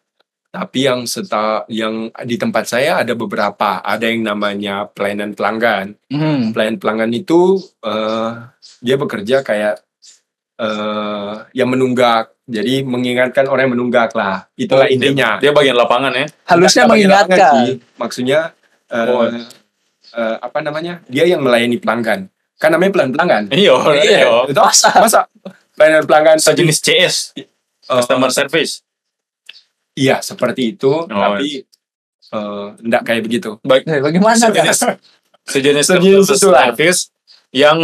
Tapi yang seta yang di tempat saya ada beberapa. Ada yang namanya pelayanan pelanggan.
Hmm.
Pelayan pelanggan itu eh, dia bekerja kayak eh yang menunggak. Jadi mengingatkan orang yang menunggak lah. Itulah
Oh,
iya.
dia-
intinya.
Dia bagian lapangan ya.
Harusnya
Nggak- nggak pakai larangan
mengingatkan.
sih. Maksudnya eh,
Oh.
eh, apa namanya? Dia yang melayani pelanggan. Kan namanya pelayan pelanggan.
Iya, iya.
Itu masa pelayanan pelanggan tadi,
Sejenis CS,
eh,
customer service.
Iya seperti itu, tapi eh, enggak kayak begitu.
Baik,
Eh, bagaimana kan?
sejenis sejenis
Sejenis
customer
itulah.
service yang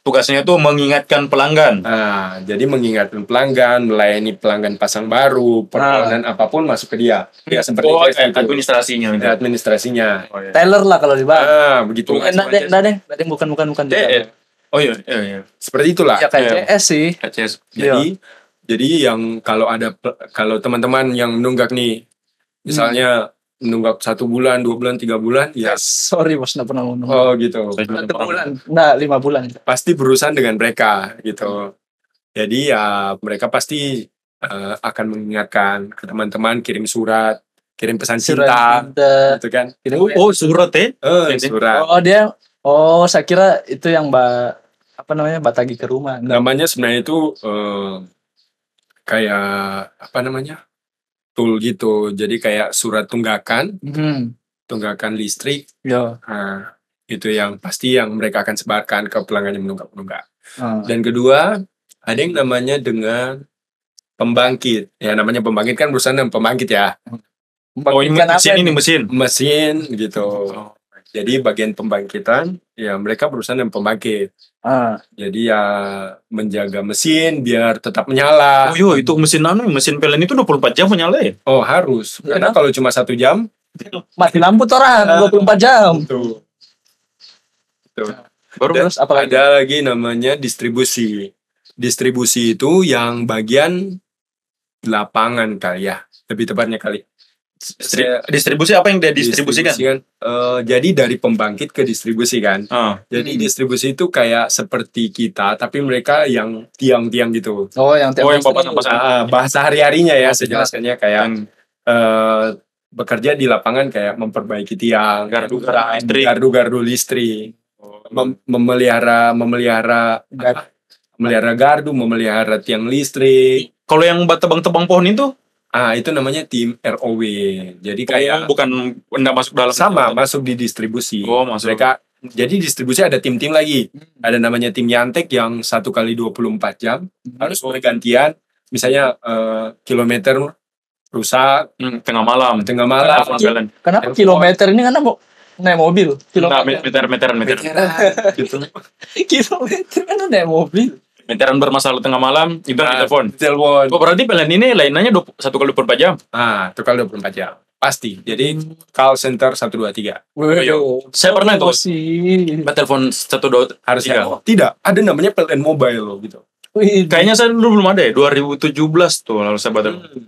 tugasnya itu mengingatkan pelanggan.
Nah, jadi mengingatkan pelanggan, melayani pelanggan pasang baru, permohonan apapun masuk ke dia. Ya seperti
oh,
itu.
eh, administrasinya.
Ada administrasinya.
Oh, iya.
Taylor lah kalau di bawah.
Ah, begitu.
Eh, Nggak deh, nggak deh, nggak deh, bukan bukan bukan. bukan.
CS. Oh iya, iya, iya.
Seperti itulah.
Ya kayak
Iya.
CS sih.
CS.
Iya.
Jadi jadi yang kalau ada pe- kalau teman-teman yang menunggak nih, misalnya menunggak satu bulan, dua bulan, tiga bulan, ya
Sorry bos, nggak pernah ngomong.
oh gitu.
Satu bulan, nggak lima bulan.
pasti berurusan dengan mereka gitu. Jadi ya mereka pasti eh, akan mengingatkan ke teman-teman kirim surat, kirim pesan
Surat
cinta,
cinta.
gitu kan?
Kirim
Oh,
WA.
oh, surat ya?
Eh,
Jadi-
surat.
Oh dia, oh saya kira itu yang mbak apa namanya batagi ke rumah. Nggak.
Namanya sebenarnya itu eh, kayak apa namanya? Tool gitu. Jadi kayak surat tunggakan,
Hmm.
tunggakan listrik.
Yo.
Nah, itu yang pasti yang mereka akan sebarkan ke pelanggan yang menunggak-menunggak.
Ah.
Dan kedua, ada yang namanya dengan pembangkit. Ya namanya pembangkit kan berusaha dengan pembangkit ya.
Oh, ini
Bukan apa
mesin
ini?
ini mesin.
Mesin gitu.
Oh.
Jadi bagian pembangkitan ya mereka berusaha dengan pembangkit.
Ah.
Jadi ya menjaga mesin biar tetap menyala.
Oh iya, itu mesin anu, mesin PLN itu 24 jam menyala ya?
Oh harus.
Iya,
Karena
dong.
kalau cuma satu jam
Mati lampu toran 24 jam.
tuh.
Baru
Dan
Terus apa lagi?
Ada lagi namanya distribusi. Distribusi itu yang bagian lapangan kali ya. Lebih tepatnya kali.
distri- distribusi apa yang dia distribusikan?
Eh, jadi dari pembangkit ke distribusi kan.
Ah,
Jadi
Hmm.
distribusi itu kayak seperti kita, tapi mereka yang tiang-tiang gitu.
Oh yang tiap
Oh, yang
hari.
papasan-papasan.
Ah, bahasa hari-harinya ya,
Oh,
sejelaskannya kayak
yang
eh, bekerja di lapangan kayak memperbaiki tiang,
Gardu-gardu listrik.
gardu-gardu listrik, mem- memelihara memelihara
Gar-
apa? memelihara gardu, memelihara tiang listrik.
kalau yang bat- tebang-tebang pohon itu
Ah, itu namanya tim ROW. Jadi kayak
bukan enggak Oh, masuk dalam
sama masuk di distribusi.
Oh, masuk. Hmm.
mereka jadi distribusi ada tim-tim lagi. Ada namanya tim nyantek yang satu kali 24 jam
Hmm.
harus bergantian. Misalnya eh, kilometer rusak
Hmm, tengah malam.
tengah malam.
Tengah malam.
Kenapa
Handphone.
kilometer ini karena mau naik mobil?
Nah,
Kilometer.
meter meteran meteran.
gitu.
kilometer kan naik mobil.
Meteran bermasalah tengah malam itu
Nah,
telepon.
Telepon.
Oh, berarti PLN ini lainannya 20 satu kali 24 jam.
Ah, itu kali 24 jam. Pasti. Jadi
Hmm.
call center 123.
iya.
Waduh.
Saya
Oh,
pernah itu.
Sih.
Bat telepon satu dua tiga.
Harusnya oh, tidak. Ada namanya PLN mobile loh gitu.
Wih,
Kayaknya saya dulu belum ada ya. 2017 tuh lalu saya bat telepon.
Hmm.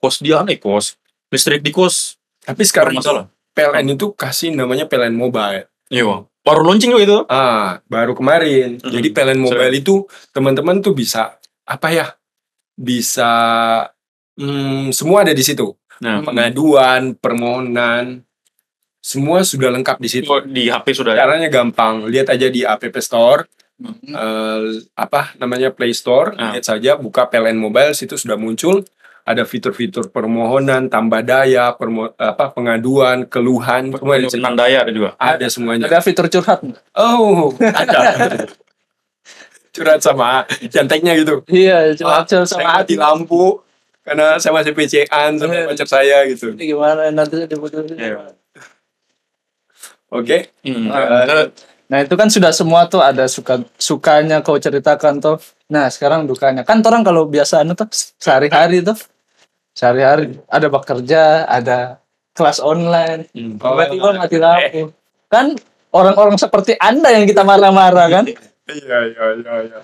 Kos dia aneh kos. Listrik di kos
Tapi sekarang itu,
bermasalah.
PLN itu kasih namanya PLN mobile.
Iya. Baru launching juga itu.
Ah, baru kemarin.
Mhm.
Jadi PLN Mobile itu teman-teman tuh bisa apa ya? Bisa hmm, semua ada di situ.
Nah,
Pengaduan, permohonan, semua sudah lengkap di situ.
itu di HP sudah ada.
Caranya gampang. Lihat aja di App Store, eh, apa namanya Play Store.
Ah.
Lihat saja, buka PLN Mobile, situ sudah muncul. Ada fitur-fitur permohonan, tambah daya, permo- apa pengaduan, keluhan, semua ada, di situ.
Nandaya ada juga.
ada semuanya.
ada fitur curhat. nggak?
Oh, ada. Curhat sama janteknya gitu.
Iya, curhat
Ah,
curhat
Saya
sama
mati
hati.
lampu karena saya masih PC-an
Iya.
sama pacar saya gitu.
Ini Gimana nanti dibutuhin.
Iya.
Oke. Eh,
Hmm.
Ah,
Ada-
Nah itu kan sudah semua tuh ada suka sukanya kau ceritakan tuh. Nah sekarang dukanya kan orang kalau biasa anu tuh sehari-hari tuh sehari-hari ada bekerja, ada kelas online,
Hmm.
tiba-tiba mati lampu. Kan orang-orang seperti anda yang kita marah-marah kan?
Iya, iya, iya, iya.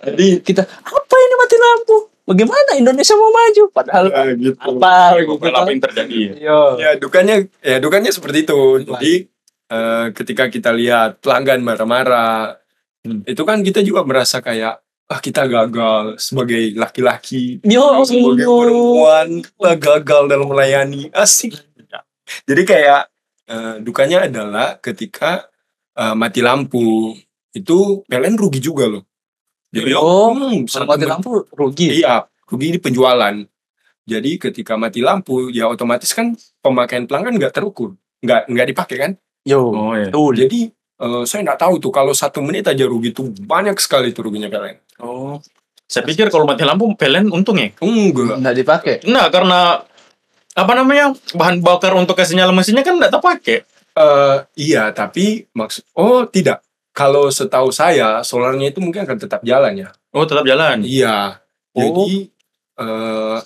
Jadi kita apa ini mati lampu? Bagaimana Indonesia mau maju? Padahal
Ya, gitu.
apa?
Gue
gitu.
apa yang terjadi ya?
Yo.
Ya, dukanya ya dukanya seperti itu. Jadi eh, ketika kita lihat pelanggan marah-marah,
Hmm.
Itu kan kita juga merasa kayak ah kita gagal sebagai laki-laki,
Yo,
sebagai perempuan kita gagal dalam melayani asik.
Iya.
Jadi kayak eh, dukanya adalah ketika eh, mati lampu itu PLN rugi juga loh. Jadi
Oh,
hmm,
Kalau
sangat
mati lampu rugi.
Iya, rugi di penjualan. Jadi ketika mati lampu, ya otomatis kan pemakaian pelanggan nggak terukur, nggak nggak dipakai kan.
Yo,
Oh iya.
tuh
Jadi eh, saya nggak tahu tuh kalau satu menit aja rugi tuh banyak sekali tuh ruginya PLN.
Oh. Saya pikir kalau mati lampu PLN untung ya.
Enggak,
nggak dipakai.
Nah, karena apa namanya? bahan bakar untuk kesinyalan mesinnya kan enggak terpakai.
Eh, iya tapi maksud, oh tidak. Kalau setahu saya solarnya itu mungkin akan tetap jalan ya.
Oh, tetap jalan.
Iya.
Oh.
Jadi eh,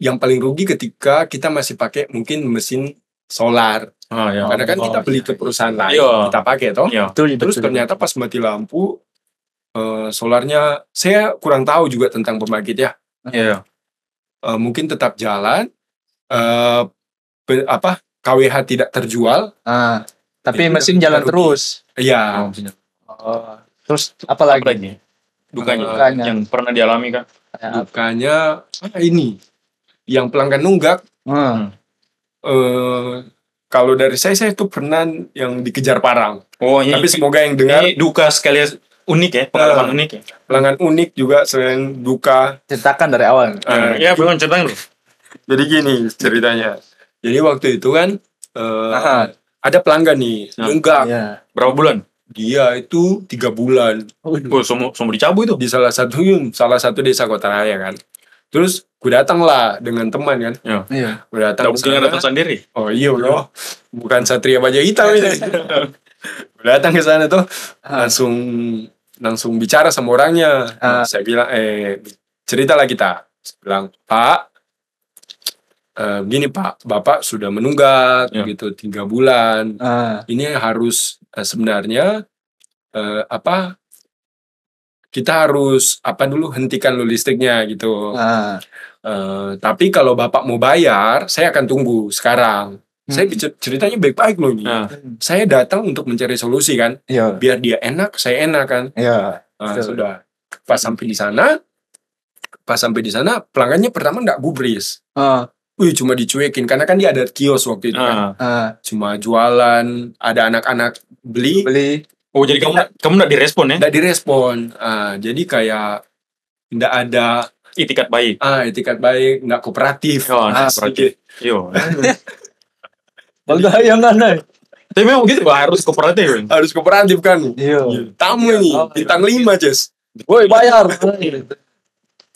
yang paling rugi ketika kita masih pakai mungkin mesin solar.
Ah, ya.
Karena kan
Oh,
kita beli ke perusahaan lain,
Iya.
kita pakai toh.
Iya.
Tuh
Terus ternyata pas mati lampu eh, solarnya saya kurang tahu juga tentang pembangkit ya.
Iya.
Eh, mungkin tetap jalan eh, pe- apa KWH tidak terjual.
Ah, tapi
Itu
mesin
udah-
jalan
udah rugi.
terus.
Iya.
Oh. Terus apa lagi? Ah,
Apalagi? Dukanya,
Dukanya.
yang pernah dialami kan?
Kayak apa?
Dukanya ah, ini yang pelanggan nunggak
Hmm.
eh, kalau dari saya saya tuh pernah yang dikejar parang.
Oh, ini,
Tapi semoga yang dengar
ini duka sekali unik ya, pengalaman unik ya.
pelanggan unik juga selain duka.
Ceritakan dari awal.
Eh,
ya, belum ceritain.
Jadi gini ceritanya. Jadi waktu itu kan eh,
Aha.
ada pelanggan nih
Nah.
nunggak.
Ah, Iya.
Berapa bulan?
Dia itu tiga bulan
Waduh.
Oh, semua semua dicabu itu.
di salah satu hmm, salah satu desa Kota Raya kan. Terus gue datang lah dengan teman kan.
Iya.
Gue
Tidak
datang. ke
mungkin
sana.
datang sendiri.
Oh iya bro, bukan Satria Baja Hitam ini. gue datang ke sana tuh
Ah.
langsung langsung bicara sama orangnya.
Ah.
Saya bilang eh ceritalah kita. Saya bilang Pak, eh, gini Pak, Bapak sudah menunggak
Ya.
gitu tiga bulan
Ah,
ini harus eh, sebenarnya eh, apa kita harus apa dulu hentikan dulu listriknya gitu
ah.
Eh, tapi kalau bapak mau bayar saya akan tunggu sekarang saya
Hmm.
bic- ceritanya baik-baik loh ini
Nah.
saya datang untuk mencari solusi kan
Iya.
biar dia enak saya enak kan
Iya.
Ah,
Betul.
sudah pas sampai di sana pas sampai di sana pelanggannya pertama nggak gubris
Ah,
Wih cuma dicuekin karena kan dia ada kios waktu itu kan.
Nah.
ah.
cuma jualan ada anak-anak beli
Beli.
Oh, jadi kamu kamu tidak direspon ya?
nggak direspon Ah, jadi kayak nggak ada
Itikat baik.
ah etikat baik nggak kooperatif
Oh,
Ah,
nah, berarti. Yo.
Bangga yang mana?
Tapi memang gitu Pak, harus kooperatif. kan?
harus kooperatif kan
Iya.
tamu nih
Oh,
bintang lima Jess
Woi, bayar.
Iya.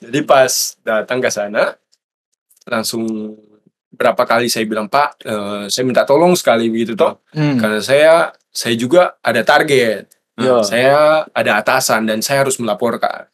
jadi pas datang ke sana langsung berapa kali saya bilang pak eh, saya minta tolong sekali begitu toh
Hmm.
karena saya saya juga ada target Nah,
Iya.
saya ada atasan dan saya harus melaporkan.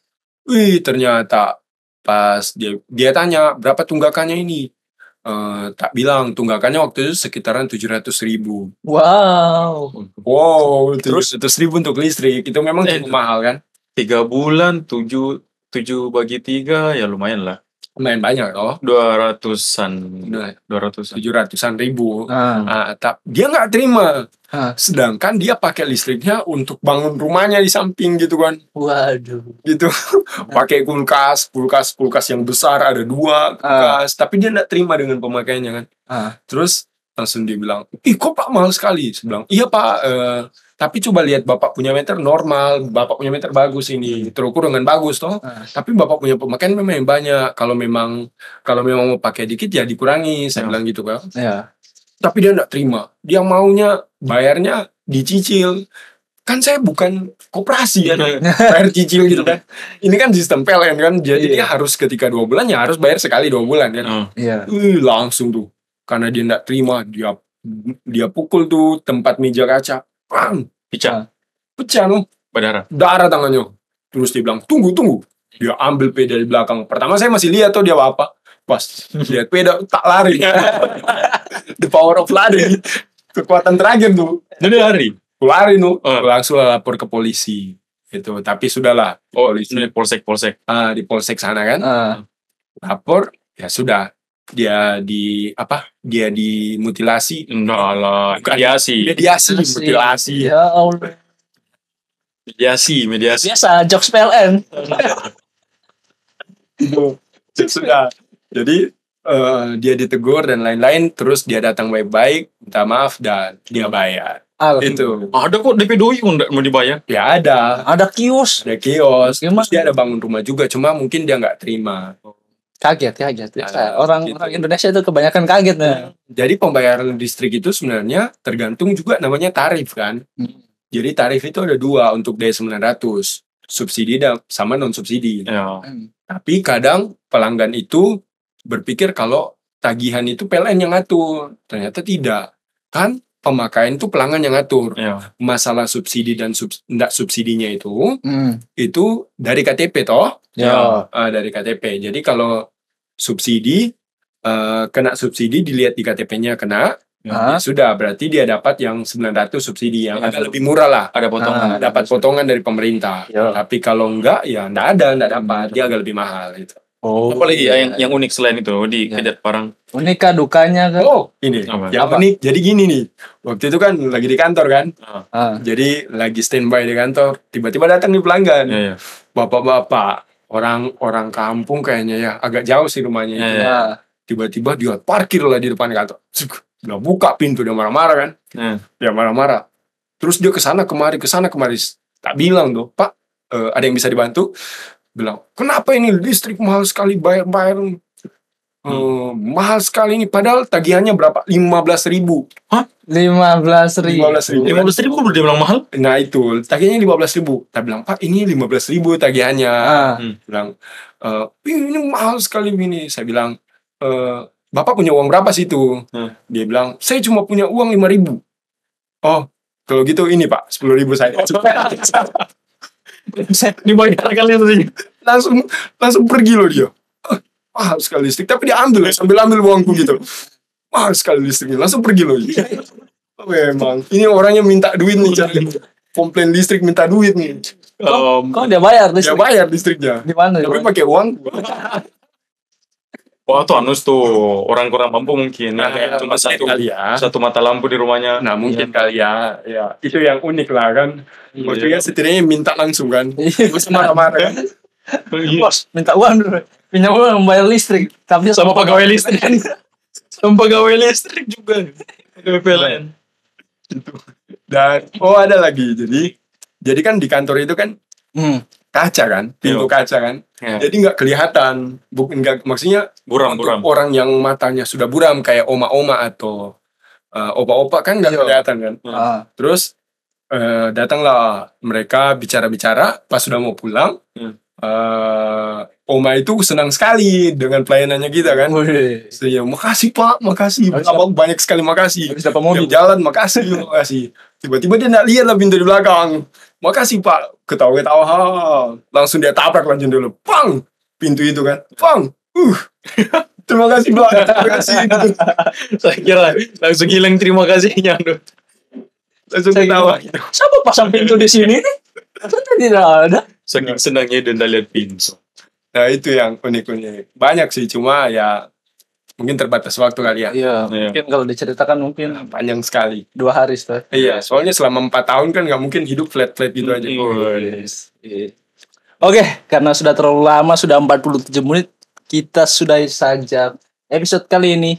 Wih, ternyata pas dia dia tanya berapa tunggakannya ini. Eh, tak bilang tunggakannya waktu itu sekitaran 700 ribu.
Wow.
Wow,
Terus?
terus ribu untuk listrik itu memang
Eh,
cukup mahal kan?
Tiga bulan tujuh tujuh bagi tiga ya lumayan lah
Lumayan banyak loh.
dua ratusan
Nah,
dua ratusan
700-an ribu.
Ah.
Ah, tak- dia nggak terima.
Ah.
Sedangkan dia pakai listriknya untuk bangun rumahnya di samping gitu kan.
Waduh.
gitu pakai kulkas kulkas kulkas yang besar ada dua kulkas tapi dia nggak terima dengan pemakaiannya kan
Ah.
terus langsung dia bilang ih kok pak mahal sekali saya bilang iya pak eh, tapi coba lihat bapak punya meter normal bapak punya meter bagus ini terukur dengan bagus toh
Ah.
tapi bapak punya pemakaian memang yang banyak kalau memang kalau memang mau pakai dikit ya dikurangi saya
Ya.
bilang gitu kan
Iya.
tapi dia nggak terima dia maunya bayarnya dicicil kan saya bukan koperasi kan bayar cicil gitu kan. Ini kan sistem PLN kan, jadi
Iya.
dia harus ketika dua bulan ya harus bayar sekali dua bulan kan.
Oh,
Iya.
Wih, langsung tuh, karena dia nggak terima dia dia pukul tuh tempat meja kaca, bang
pecah
pecah loh,
berdarah.
darah tangannya. Terus dia bilang tunggu tunggu, dia ambil peda dari belakang. Pertama saya masih lihat tuh dia apa, pas lihat peda tak lari. The power of lari, kekuatan terakhir tuh
Jadi lari.
lari tuh,
Eh.
langsung lapor ke polisi itu tapi sudahlah
Oh, ini polsek polsek.
ah, di polsek sana kan
Ah.
lapor ya sudah dia di apa dia dimutilasi
Enggak lah,
Bukan.
mediasi.
mediasi mutilasi
Ya Allah.
mediasi mediasi
Biasa, jokes PLN.
Itu. sudah jadi eh, dia ditegur dan lain-lain terus dia datang baik-baik minta maaf dan dia bayar
Ah,
itu
ada kok DP doi kok nggak mau dibayar
ya ada
Ada kios.
ada kios
Gimana?
terus dia ada bangun rumah juga cuma mungkin dia nggak terima
Kaget, kaget. Biasa.
Ada,
Orang,
gitu.
orang Indonesia itu kebanyakan kaget. Nah.
jadi pembayaran listrik itu sebenarnya tergantung juga namanya tarif kan
Hmm.
jadi tarif itu ada dua untuk daya 900 subsidi dan sama non subsidi
ya
Hmm.
Tapi kadang pelanggan itu berpikir kalau tagihan itu PLN yang ngatur. Ternyata tidak. Kan pemakaian itu pelanggan yang ngatur.
ya
Masalah subsidi dan subs ndak subsidinya itu
Hmm.
itu dari KTP toh?
Ya.
Ya.
Ah, dari KTP. Jadi kalau subsidi eh, kena subsidi dilihat di KTP-nya kena
Hah?
ya sudah berarti dia dapat yang 900 subsidi yang
Ya. Ah,
agak lebih murah lah
ada
Nah,
potongan
dapat potongan dari pemerintah
Ya.
tapi kalau enggak ya enggak ada enggak dapat dia agak lebih mahal gitu
Oh.
apalagi ya, yang yang unik selain itu di
Ya.
kejat parang
Unika dukanya kan.
Oh, ini.
Apa?
Yang
Apa?
unik. Jadi gini nih. Waktu itu kan lagi di kantor kan.
Ah.
Jadi lagi standby di kantor. Tiba-tiba datang nih pelanggan.
ya ya
Bapak-bapak. Orang-orang kampung kayaknya ya. Agak jauh sih rumahnya itu.
Ya.
Ah.
Tiba-tiba dia parkir lah di depan kantor. Suk. Dia buka pintu. Dia marah-marah kan.
ya
Dia marah-marah. Terus dia kesana kemari. Kesana kemari. Tak bilang tuh. Pak, eh, ada yang bisa dibantu? Bilang, kenapa ini listrik mahal sekali bayar-bayar? Eh, mahal sekali ini. Padahal tagihannya berapa? 15 ribu.
lima belas ribu.
15 ribu.
lima belas ribu kok dia bilang mahal
Nah itu tagihannya 15 ribu. Tak bilang Pak ini 15 ribu tagihannya.
Ah.
Bilang "Eh, "Ih, ini mahal sekali ini. Saya bilang "Eh, Bapak punya uang berapa sih itu?
Hmm.
Dia bilang saya cuma punya uang 5 ribu. Oh kalau gitu ini Pak 10 ribu saya.
dibayar kali itu sih
langsung langsung pergi loh dia. Eh, Mahal sekali listrik. Tapi dia ambil ya, sambil ambil uangku gitu. Mahal sekali listriknya. Langsung pergi loh. dia. Memang ini orangnya minta duit nih cari komplain listrik minta duit nih.
Um,
Kok dia bayar
Ya
listrik? Iya.
bayar listriknya.
Di mana?
Tapi pakai uang.
wah tuh anus tuh orang kurang mampu mungkin Yang kayak Nah, cuma satu
ya.
satu mata lampu di rumahnya
Nah mungkin kali ya. ya. Itu yang unik lah kan. Maksudnya setidaknya minta langsung kan.
Iya.
Terus marah-marah kan.
Iya.
Bos, minta uang dulu. Pinjam uang bayar listrik. Tapi
sama pegawai listrik sama pegawai listrik juga pegawai PLN
Dan oh ada lagi. Jadi jadi kan di kantor itu kan
Hmm.
kaca kan, pintu kaca kan. Jadi nggak kelihatan. Bukan nggak maksudnya
Ya, buram
untuk
buram
orang yang matanya sudah buram kayak oma-oma atau eh, opa-opa kan nggak
Iya.
kelihatan kan.
Ah.
Terus eh, datanglah mereka bicara-bicara pas sudah mau pulang.
Hmm.
eh, Oma itu senang sekali dengan pelayanannya kita kan.
Wih.
Iya, makasih Pak, makasih.
Harus
Abang banyak sekali makasih. Iya.
Habis dapat
Dia
mobil.
jalan, makasih, makasih. Tiba-tiba dia nggak lihat lah pintu di belakang. Makasih Pak, ketawa-ketawa. ha. Langsung dia tabrak lanjut dulu. Pang! Pintu itu kan. Pang! Uh! Terima kasih Pak, terima kasih. Gitu.
saya kira langsung hilang terima kasihnya aduh
Langsung
Saya
ketawa.
Siapa pasang pintu di sini nih? Ternyata tidak ada.
saking senangnya dan tak lihat pintu
Nah itu yang unik-unik. Banyak sih, cuma ya mungkin terbatas waktu kali ya.
Iya.
Iya.
Mungkin kalau diceritakan mungkin
Panjang sekali.
dua hari setelah.
Iya, soalnya selama 4 tahun kan nggak mungkin hidup flat-flat gitu aja.
Mm-mm.
Iya. Oke, karena sudah terlalu lama, sudah 47 menit, kita sudahi saja episode kali ini.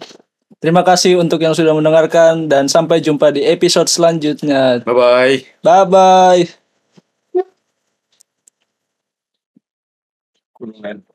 Terima kasih untuk yang sudah mendengarkan dan sampai jumpa di episode selanjutnya.
bye bye
Bye bye.
Kurungan.